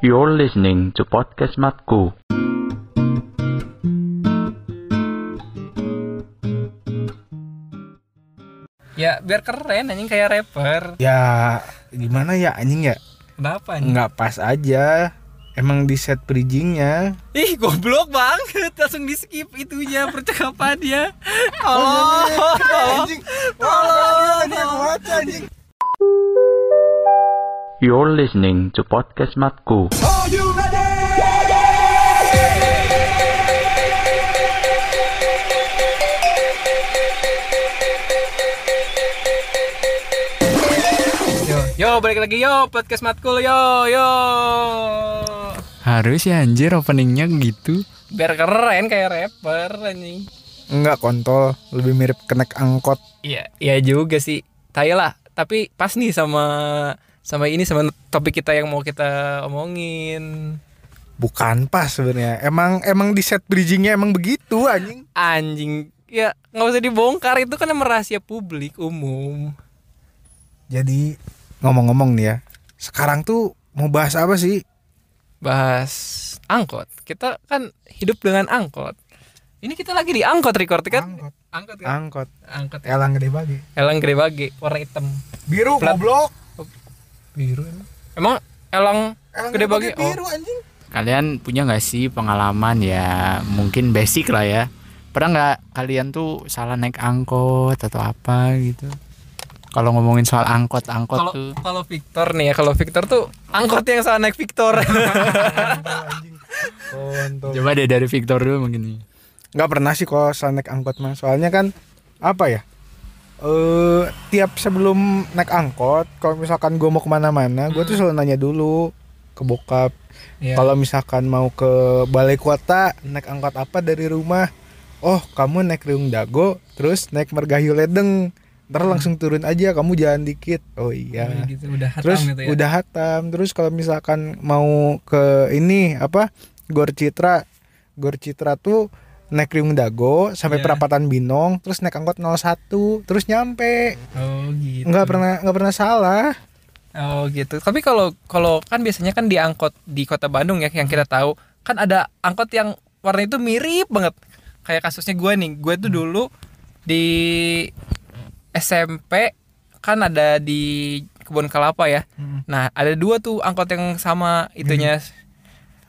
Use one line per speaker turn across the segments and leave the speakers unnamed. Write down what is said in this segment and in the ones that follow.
You're listening to podcast Matku.
Ya biar keren anjing kayak rapper
ya gimana ya anjing ya
Kenapa anjing?
nggak pas aja emang di set bridgingnya
Ih goblok banget Langsung di skip itunya percakapannya Tolong Tolong Tolong
You're listening to podcast Matku.
Yo, iya, yo balik lagi yo podcast matkul yo yo
Harus ya anjir openingnya gitu
Biar keren kayak rapper anjing
nggak kontol lebih mirip kenek angkot
Iya iya juga sih Tai lah Tapi pas nih sama sama ini sama topik kita yang mau kita omongin
bukan pas sebenarnya emang emang di set bridgingnya emang begitu anjing
anjing ya nggak usah dibongkar itu kan emang rahasia publik umum
jadi ngomong-ngomong nih ya sekarang tuh mau bahas apa sih
bahas angkot kita kan hidup dengan angkot ini kita lagi di angkot record kan
angkot
angkot kan?
angkot
angkot
elang gede bagi
elang gede bage warna hitam
biru
Plat-
goblok
biru emang emang elang
elang
Gede Bage, oh.
biru anjing
Kalian punya nggak sih pengalaman ya Mungkin basic lah ya Pernah nggak kalian tuh salah naik angkot atau apa gitu Kalau ngomongin soal angkot-angkot
Oh, kalau
tuh
kalau Victor nih ya kalau Victor tuh angkot yang salah naik Victor
kontol
Coba deh dari Victor dulu mungkin nih
nggak pernah sih kalau salah naik angkot mah soalnya kan apa ya eh tiap sebelum naik angkot kalau misalkan gue mau kemana-mana gue tuh selalu nanya dulu ke bokap
Iya.
kalau misalkan mau ke balai kota naik angkot apa dari rumah oh kamu naik Riung Dago terus naik Mergayu Ledeng ntar langsung turun aja kamu jalan dikit oh iya
Udah gitu udah hatam
terus
gitu ya
udah hatam terus kalau misalkan mau ke ini apa Gor Citra Gor Citra tuh naik Riung Dago sampai
Iya.
perapatan Binong terus naik angkot 01 terus nyampe
oh gitu
nggak pernah nggak pernah salah
Oh gitu. Tapi kalau kalau kan biasanya kan di angkot di kota Bandung ya yang kita tahu kan ada angkot yang warna itu mirip banget kayak kasusnya gue nih. Gue tuh dulu di SMP kan ada di kebun kelapa ya. Nah ada dua tuh angkot yang sama itunya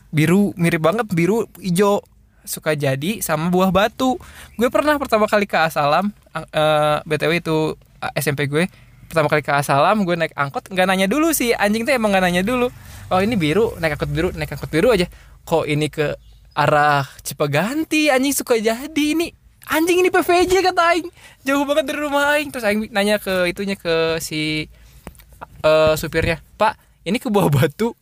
biru mirip banget biru hijau suka jadi sama buah batu gue pernah pertama kali ke Asalam ang- eh, btw itu eh, SMP gue pertama kali ke Asalam gue naik angkot nggak nanya dulu sih anjing tuh emang nggak nanya dulu oh ini biru naik angkot biru naik angkot biru aja kok ini ke arah Cipaganti anjing suka jadi ini anjing ini PVJ kata aing jauh banget dari rumah aing terus aing nanya ke itunya ke si eh supirnya pak ini ke bawah batu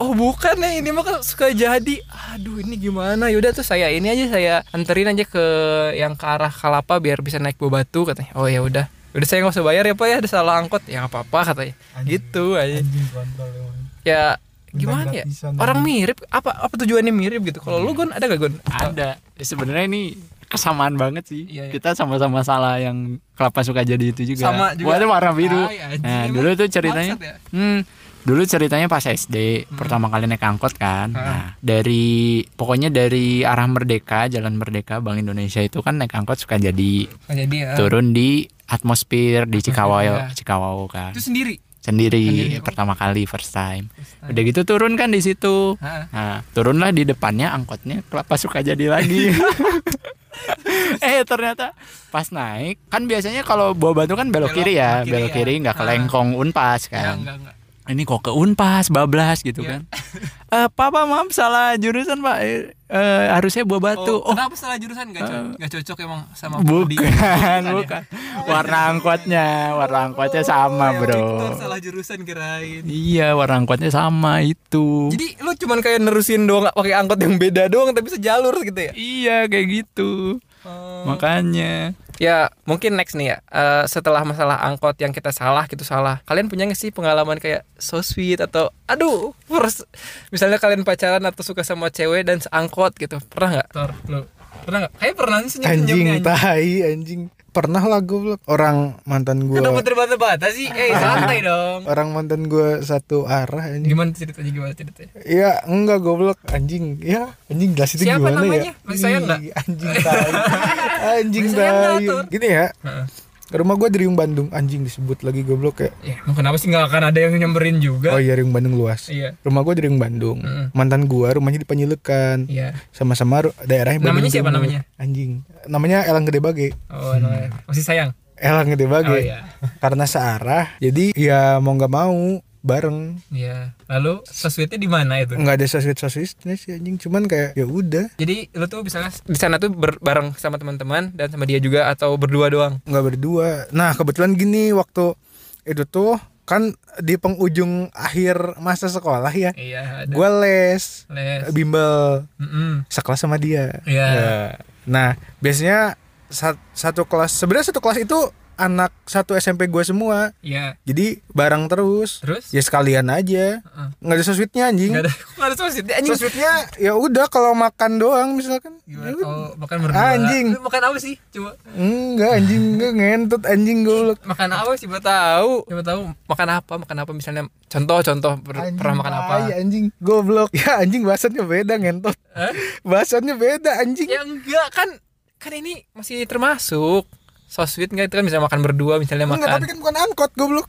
oh bukan ya ini mah kan suka jadi aduh ini gimana yaudah tuh saya ini aja saya anterin aja ke yang ke arah kalapa biar bisa naik bawah batu katanya oh ya udah udah saya nggak usah bayar ya pak ya ada salah angkot ya nggak apa-apa katanya gitu aja ya gimana ya orang mirip apa apa tujuannya mirip gitu kalau lu gon ada gak gon
Ada Ya, Sebenarnya ini kesamaan banget sih
Iya, iya.
Kita sama-sama salah yang kelapa suka jadi itu juga
Sama juga.
Warna warna biru
Ay, anjing,
Nah
emang
dulu tuh ceritanya
bangsat ya? Hmm.
Hmm, dulu ceritanya pas SD pertama kali naik angkot kan. Nah, dari pokoknya dari arah Merdeka, Jalan Merdeka, Bank Indonesia itu kan naik angkot suka jadi
Suka jadi ya
turun di atmosfer di Cikawao,
Iya.
Cikawao kan.
itu sendiri
Sendiri
sendiri.
pertama kali first time. Udah gitu turun kan di situ.
Ha.
Nah, turunlah di depannya angkotnya kelapa suka jadi lagi. eh ternyata pas naik kan biasanya kalau bawa batu kan belok,
Belok-
kiri ya,
belok kiri
belok
ya.
kiri nggak
Ha.
kelengkong
Ya,
unpas kan
enggak, enggak.
ini kok ke Unpas, bablas gitu
Iya.
kan. Eh, papa maaf salah jurusan Pak. Eh, eh, harusnya buah batu.
Oh,
Oh,
kenapa salah jurusan gak,
Eh.
cocok emang sama prodi?
bukan,
ya?
bukan. Warna angkotnya, warna angkotnya
Oh,
sama, Bro.
Victor salah jurusan kirain.
Iya, warna angkotnya sama itu.
Jadi lu cuman kayak nerusin doang pakai angkot yang beda doang tapi sejalur gitu ya.
iya, kayak gitu. Makanya.
Eh, Ya, mungkin next nih ya. eh, setelah masalah angkot yang kita salah gitu salah. Kalian punya gak sih pengalaman kayak so sweet atau aduh, first misalnya kalian pacaran atau suka sama cewek dan seangkot gitu. Pernah nggak? Pernah nggak? Kayak pernah sih
anjing tai anjing pernah lah goblok orang mantan
Kenapa
gua
terbata-bata sih? Eh santai dong.
orang mantan gua satu arah anjing
Gimana ceritanya gimana ceritanya?
Iya, enggak goblok anjing. Ya, anjing jelas itu
Siapa
gimana
namanya?
ya?
Maksud saya
Ih,
enggak?
Anjing tai. anjing
Maksud saya enggak,
tai.
Tur.
Gini ya.
Heeh.
Ke rumah gua di Riung Bandung, anjing disebut lagi goblok kayak.
Ya, emang kenapa sih nggak akan ada yang nyamperin
Oh
juga?
iya Riung Bandung luas.
Iya.
Rumah gua di Riung Bandung.
Mm-mm.
Mantan gua rumahnya di Panjilekan.
Iya.
Sama-sama ru- daerahnya Bandung.
Namanya siapa
Timur.
namanya?
Anjing. Namanya Elang Gede Bage.
Oh, namanya. masih sayang.
Elang Gede
Oh
Bage.
iya.
Karena searah, jadi ya mau nggak mau bareng.
Iya. Lalu sesuitnya di mana itu?
Nggak ada sosisnya sih anjing, cuman kayak ya udah.
Jadi lu tuh misalnya di sana tuh ber- bareng sama teman-teman dan sama dia juga atau berdua doang?
nggak berdua. Nah kebetulan gini waktu itu tuh kan di penghujung akhir masa sekolah ya,
Iya. Ada.
gue les
les.
bimbel
Mm-mm.
sekelas sama dia.
Iya.
Ya. Nah biasanya sat- satu kelas sebenarnya satu kelas itu anak satu SMP gue semua,
Iya.
jadi bareng terus.
Terus?
Ya sekalian aja,
Heeh.
nggak ada soswitnya anjing.
Nggak ada. Nggak ada sosisnya, Anjing.
Soswitnya ya udah kalau makan doang misalkan.
Gimana?
Ya udah.
Oh, makan berdua.
Anjing.
Lu makan apa sih? Coba.
Enggak anjing, enggak ngentut anjing goblok.
Makan apa sih? Siapa tahu. Siapa tahu makan apa? Makan apa misalnya? Contoh-contoh per-
Anjing,
pernah makan apa?
tai, anjing goblok ya anjing bahasannya beda ngentot
Hah?
bahasannya beda anjing
Ya enggak kan kan ini masih termasuk so sweet enggak itu kan bisa makan berdua misalnya
enggak tapi
makan.
kan bukan angkot goblok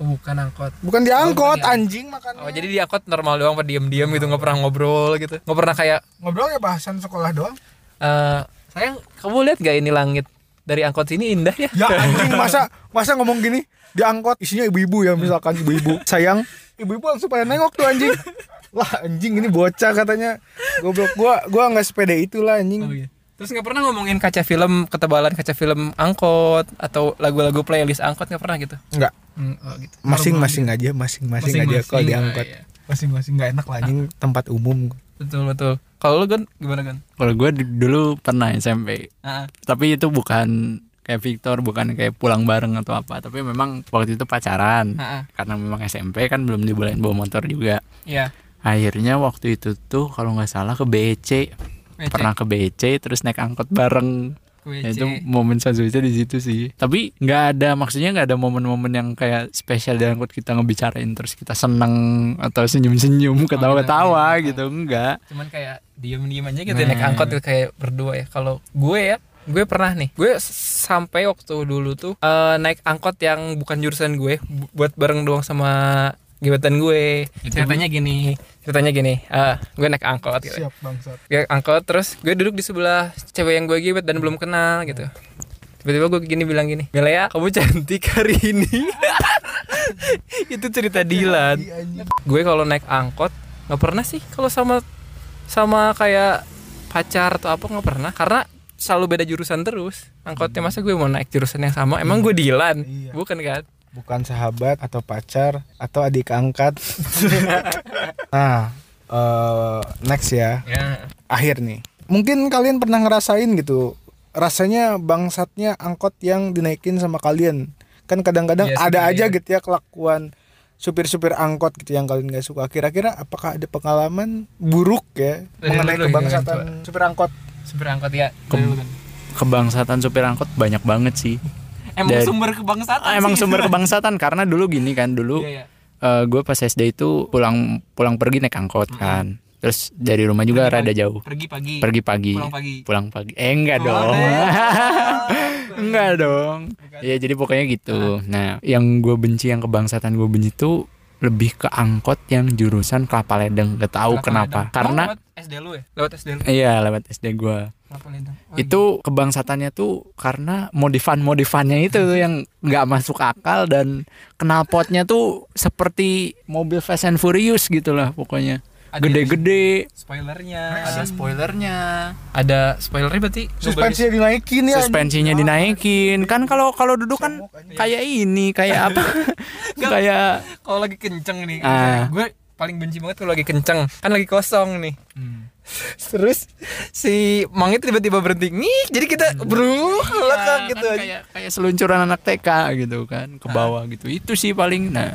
Oh, bukan angkot.
bukan
Oh,
diangkot
bukan diangkot.
anjing makan
Oh, jadi di angkot normal doang pada diam-diam gitu nggak pernah ngobrol gitu. Nggak pernah kayak
ngobrol ya bahasan sekolah doang
eh sayang kamu lihat gak ini langit dari angkot sini indah ya?
ya anjing masa masa ngomong gini diangkot isinya ibu-ibu ya misalkan ibu-ibu sayang ibu-ibu langsung pada nengok tuh anjing lah anjing ini bocah katanya goblok gua gua nggak sepede itulah anjing
Oh, iya. Terus nggak pernah ngomongin kaca film ketebalan kaca film angkot atau lagu-lagu playlist angkot nggak pernah gitu?
enggak
Hmm, oh, gitu.
masing-masing aja masing-masing aja kalau
Masing-masing,
diangkot
ah, iya.
masing-masing nggak enak lah anjing tempat umum
Betul betul. Kalau lu kan gimana kan?
Kalau gue dulu pernah SMP,
Ah,
tapi itu bukan kayak Victor, bukan kayak pulang bareng atau apa, tapi memang waktu itu pacaran.
ah, ah.
Karena memang SMP kan belum dibolehin bawa motor juga.
Iya.
Akhirnya waktu itu tuh kalau nggak salah ke BC,
Becek,
pernah ke BC terus naik angkot bareng. Ya,
becek.
itu momen selanjutnya di situ sih. Tapi nggak ada maksudnya nggak ada momen-momen yang kayak spesial di angkot kita ngebicarain terus kita seneng atau senyum-senyum ketawa-tawa
iya.
gitu enggak.
cuman kayak diem-diem aja gitu
Nah.
naik angkot tuh kayak berdua ya kalau gue ya gue pernah nih gue s- sampai waktu dulu tuh eh, naik angkot yang bukan jurusan gue bu- buat bareng doang sama gebetan gue ceritanya gini ceritanya gini eh, gue naik angkot gitu
siap bangsat
gue angkot terus gue duduk di sebelah cewek yang gue gebet dan belum kenal gitu tiba-tiba gue gini bilang gini Melea kamu cantik hari ini itu cerita Dilan
Iya,
gue kalau naik angkot nggak pernah sih kalau sama sama kayak pacar atau apa nggak pernah karena selalu beda jurusan terus angkotnya
Hmm.
masa gue mau naik jurusan yang sama emang gue Dilan
Iya.
bukan kan
bukan sahabat atau pacar atau adik angkat. nah, eh, next ya,
ya
akhir nih. Mungkin kalian pernah ngerasain gitu, rasanya bangsatnya angkot yang dinaikin sama kalian. Kan kadang-kadang
Iya sih,
ada aja
iya.
gitu ya kelakuan supir-supir angkot gitu yang kalian gak suka. Kira-kira apakah ada pengalaman buruk ya
Dari
mengenai
lu dulu,
kebangsatan
gimana,
supir angkot?
supir angkot ya
Kem- kebangsatan supir angkot banyak banget sih.
emang
Dari-
sumber kebangsaan
Ah, emang sumber kebangsatan karena dulu gini kan dulu
Iya, iya.
eh, gue pas SD itu pulang pulang pergi naik angkot kan. Terus dari rumah juga
Pergi
rada
pagi.
jauh.
pergi pagi
Pergi pagi.
pulang pagi
Pulang pagi. Eh enggak dong. enggak dong. Ya jadi pokoknya gitu. Nah, yang gue benci yang kebangsatan gue benci tuh lebih ke angkot yang jurusan Kelapa Ledeng. Gak tahu
Kelapa Ledeng.
kenapa. Karena
Oh, lewat SD lu ya lewat SD lu
iya lewat SD gue.
Kelapa Ledeng. Oh,
itu kebangsatannya tuh karena modifan modifannya itu tuh yang nggak masuk akal dan knalpotnya tuh seperti mobil Fast and Furious gitu lah pokoknya
Ada
gede-gede
iya. spoilernya ada
ada spoilernya
ada spoilernya berarti lu bagi-
Suspensinya dinaikin
Iya,
ya. anjing.
suspensinya dinaikin kan kalau kalau duduk kan kayak ini kayak apa kayak
kalau Oh, lagi kenceng nih
Ah.
gue paling benci banget kalau lagi kenceng kan lagi kosong nih
Hmm.
terus si mangit tiba-tiba berhenti nih jadi kita bro
Hmm. Kan
gitu aja
kayak kayak seluncuran anak TK gitu kan
Ah.
ke bawah gitu itu sih paling nah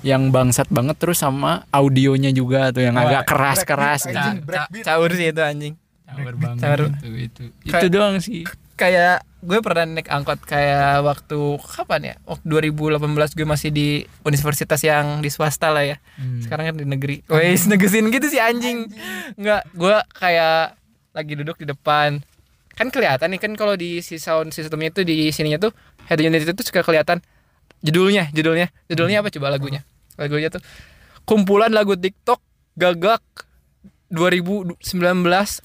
yang bangsat banget terus sama audionya juga tuh yang
Wah,
agak keras-keras
break,
gitu.
Ca-
Anjing, breakbeat.
ca- caur sih itu anjing
Caur
Caur.
banget gitu. itu itu.
Kayak-
Itu doang sih.
kayak gue pernah naik angkot kayak waktu kapan ya? Waktu 2018 gue masih di universitas yang di swasta lah ya. Sekarang kan di negeri. Wes negesin gitu sih anjing. Enggak, gue kayak lagi duduk di depan. Kan kelihatan nih kan kalau di si sound systemnya itu di sininya tuh head unit itu tuh suka kelihatan judulnya, judulnya. Judulnya apa coba lagunya? Lagunya tuh kumpulan lagu TikTok gagak 2019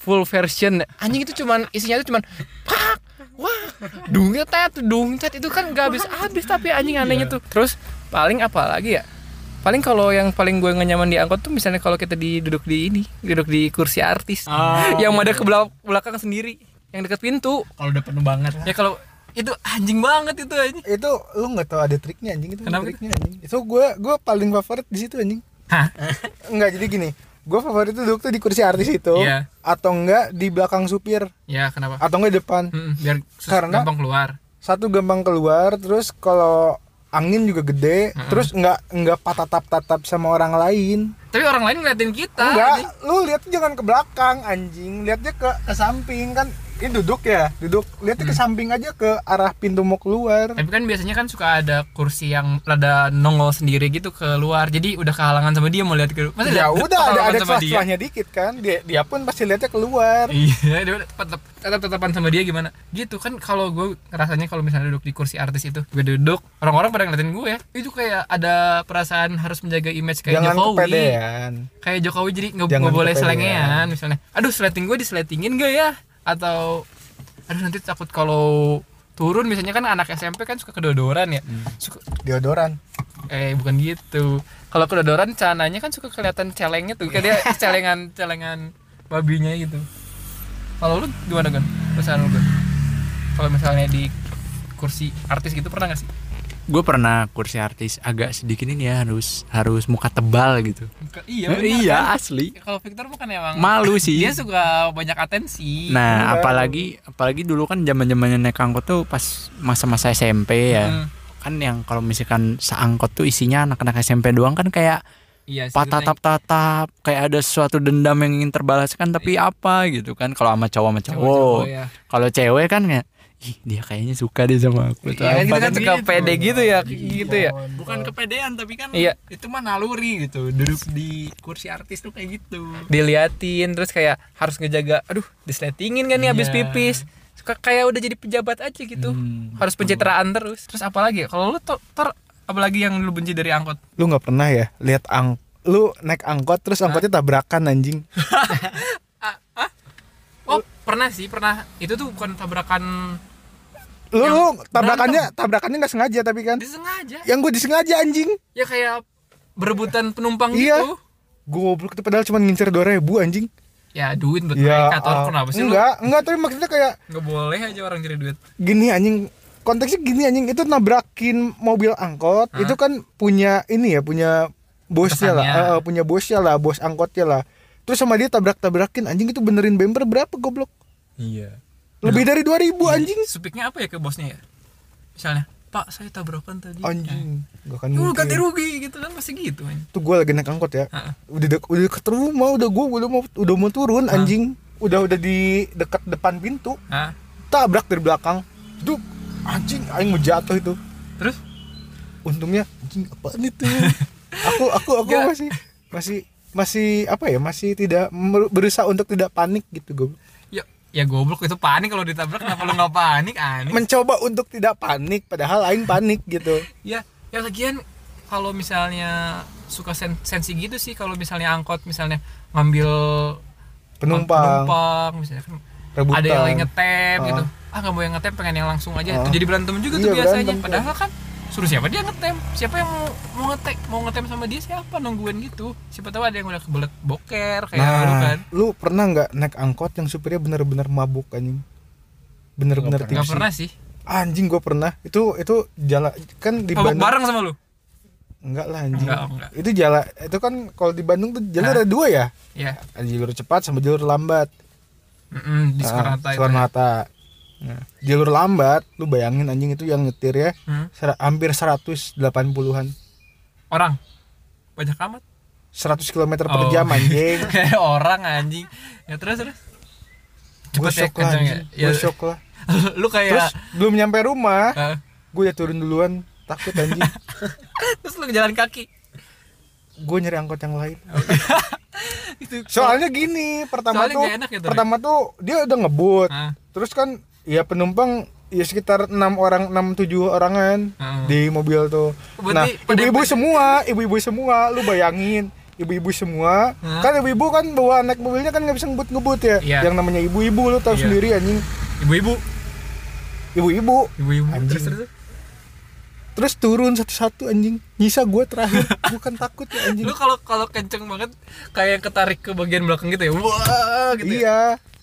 full version anjing itu cuman isinya itu cuman pak wah dungnya tet dung tet itu kan gak habis habis tapi anjing
Iya.
anehnya tuh terus paling apa lagi ya paling kalau yang paling gue nggak nyaman di angkot tuh misalnya kalau kita di duduk di ini duduk di kursi artis yang ada ke belak- belakang sendiri yang deket
Oh.
pintu
kalau udah penuh banget
ya kalau itu anjing banget itu anjing
itu lu nggak tahu ada triknya anjing itu
Kenapa
triknya anjing itu gue gue paling favorit di situ anjing
Hah?
nggak jadi gini gue favorit itu duduk tuh di kursi artis itu
Iya.
atau enggak di belakang supir
ya kenapa
atau enggak di depan
Mm, biar sus-
Karena-
gampang keluar
satu gampang keluar terus kalau angin juga gede
Hmm.
terus nggak nggak patatap tatap sama orang lain
tapi orang lain ngeliatin kita anjing.
enggak lu lihat jangan ke belakang anjing lihatnya ke, ke samping kan ini duduk ya duduk lihatnya
Hmm.
ke samping aja ke arah pintu mau keluar
Tapi kan biasanya kan suka ada kursi yang ada nongol sendiri gitu keluar. Jadi udah kehalangan sama dia mau lihat ke Masa lihat-
ya udah ada
ketalangan
ada
sama dia.
celah-celahnya dikit kan dia dia pun pasti lihatnya keluar
Iya, dia tetap tetap tetapan sama dia gimana? Gitu kan kalau gue rasanya kalau misalnya duduk di kursi artis itu, gue duduk, orang-orang pada ngeliatin gue. Itu kayak ada perasaan harus menjaga image kayak
jangan
Jokowi.
kepedean
Kayak Jokowi jadi nggak
Jangan
nggak boleh
kepedean.
selengean misalnya. Aduh, sleting gue disletingin gak ya? Atau aduh nanti takut kalau turun misalnya kan anak SMP kan suka kedodoran ya.
Hmm.
Suka,
deodoran
Eh bukan gitu. Kalau kedodoran celananya kan suka kelihatan celengnya tuh. Kayak dia celengan celengan babinya gitu. Kalau lu gimana kan? Pesan lu Gun? Kalau misalnya di kursi artis gitu pernah gak sih?
Gue pernah kursi artis agak sedikit ini ya harus harus muka tebal gitu.
Buka- iya.
Eh,
bener
iya
kan?
asli.
Kalau Victor bukan emang
Malu sih.
dia suka banyak atensi.
Nah, apalagi apalagi dulu kan zaman-zamannya naik angkot tuh pas masa-masa SMP ya.
Hmm.
Kan yang kalau misalkan seangkot tuh isinya anak-anak SMP doang kan kayak
Iya sih.
patatap-tatap, kayak ada suatu dendam yang ingin terbalaskan tapi apa gitu kan kalau sama cowok sama cowok. iya.
Cowok-cowok ya.
Kalau cewek kan kayak ih dia kayaknya suka deh sama aku.
Iya, kan kita kan suka pede gitu ya, gitu ya.
Bukan kepedean tapi kan
Iya.
itu mah naluri gitu. Duduk di kursi artis tuh kayak gitu.
diliatin terus kayak harus ngejaga aduh disletingin kan nih habis
Iya.
pipis suka kayak udah jadi pejabat aja gitu
Hmm,
harus pencitraan terus terus apalagi ya? kalau lu ter, ter- apalagi yang lu benci dari angkot
lu nggak pernah ya lihat ang lu naik angkot terus angkotnya tabrakan anjing
oh pernah sih pernah itu tuh bukan tabrakan
lu
Yang
lu tabrakannya tabrakannya nggak sengaja tapi kan
disengaja
yang gue disengaja anjing
ya kayak berebutan penumpang
Iya.
gitu
goblok itu padahal cuma ngincer 2000 anjing
ya duit buat mereka
ya
Tor.
ah,
kenapa sih
enggak enggak tapi maksudnya kayak
lu nggak boleh aja orang cari duit
gini anjing konteksnya gini anjing itu nabrakin mobil angkot itu kan punya ini ya punya bosnya lah
Atasannya.
eh, eh, punya bosnya lah bos angkotnya lah terus sama dia tabrak tabrakin anjing itu benerin bumper berapa goblok
Iya.
lebih dari 2000 anjing
supiknya apa ya ke bosnya ya misalnya pak saya tabrakan tadi
anjing gak kan
lu
mungkin
ganti rugi gitu kan pasti gitu kan
tuh gue lagi naik angkot ya
Heeh.
udah dek- udah deket rumah udah gue udah mau udah mau turun anjing udah udah di dekat depan pintu
Hah?
tabrak dari belakang tuh anjing aing mau jatuh itu
terus
untungnya anjing apaan itu aku aku aku
Nggak.
masih masih masih apa ya masih tidak mer- berusaha untuk tidak panik gitu gue
Ya, ya goblok itu panik kalau ditabrak kenapa lu nggak panik Ah, aneh?
mencoba untuk tidak panik padahal aing panik gitu
Ya, ya lagian kalau misalnya suka sen- sensi gitu sih kalau misalnya angkot misalnya ngambil
penumpang
penumpang, misalnya kan
rebutan
ada yang lagi ngetep
Ah.
gitu. Ah nggak mau yang ngetep pengen yang langsung aja.
Ah.
Itu jadi berantem juga tuh
Iya,
biasanya.
berantem tuh.
Padahal kan suruh siapa dia ngetem siapa yang mau mau ngetek mau ngetem sama dia siapa nungguin gitu siapa tahu ada yang udah kebelet boker kayak lu
nah
kan
lu pernah nggak naik angkot yang supirnya bener-bener mabuk anjing bener-bener
nggak
tipsi
pernah sih
anjing gue pernah itu itu jalan kan di
mabok
Bandung
bareng sama lu
enggak lah anjing
Enggak, enggak.
itu jalan itu kan kalau di Bandung tuh jalur ada dua ya
ya
ada jalur cepat sama jalur lambat
Mm-mm, di
Ah,
Soekarno-Hatta itu ya?
Soekarno Hatta. Nah, jalur lambat, lu bayangin anjing itu yang nyetir ya,
Hmm.
ser- hampir 180-an.
orang banyak amat
100 km per
Oh.
jam anjing.
kayak orang anjing ya terus terus cepet ya
Gue shock lah
kenceng ya
anjing.
ya
Gue shock lah.
lu
Terus
kayak
belum nyampe rumah,
Hah?
gue udah turun duluan, takut anjing.
terus lu jalan kaki
gue nyari angkot yang lain.
itu
Soalnya gini, pertama
Soalnya nggak enak
tuh
ya, Ah. Tony?
pertama tuh dia udah ngebut.
Hah?
Terus kan ya penumpang ya sekitar enam orang enam tujuh orangan
Hmm.
di mobil tuh. nah,
Berarti pada-
ibu-ibu semua, ibu-ibu semua, lu bayangin ibu-ibu semua
Hmm.
kan ibu-ibu kan bawa naik mobilnya kan nggak bisa ngebut-ngebut ya
Iya.
yang namanya ibu-ibu lu tahu
Iya.
sendiri anjing
ibu-ibu
ibu-ibu
ibu-ibu
Anjing.
terus terus
terus turun satu-satu anjing nyisa gue terakhir bukan takut ya anjing
lu kalau kalau kenceng banget kayak yang ketarik ke bagian belakang gitu ya wah gitu ya.
iya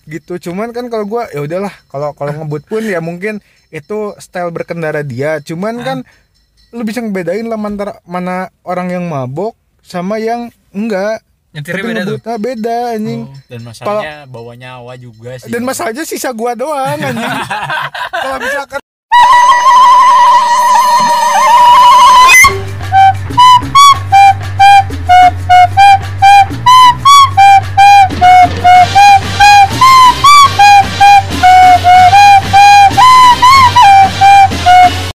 gitu cuman kan kalau gua ya udahlah kalau kalau ngebut pun ya mungkin itu style berkendara dia
Ah.
cuman kan lu bisa ngebedain lah mantar- mana orang yang mabok sama yang enggak
nyetirnya beda tuh
ngebutnya beda anjing
Oh.
Dan masalahnya bawa nyawa juga sih.
dan masalahnya sisa gua doang anjing kalau misalkan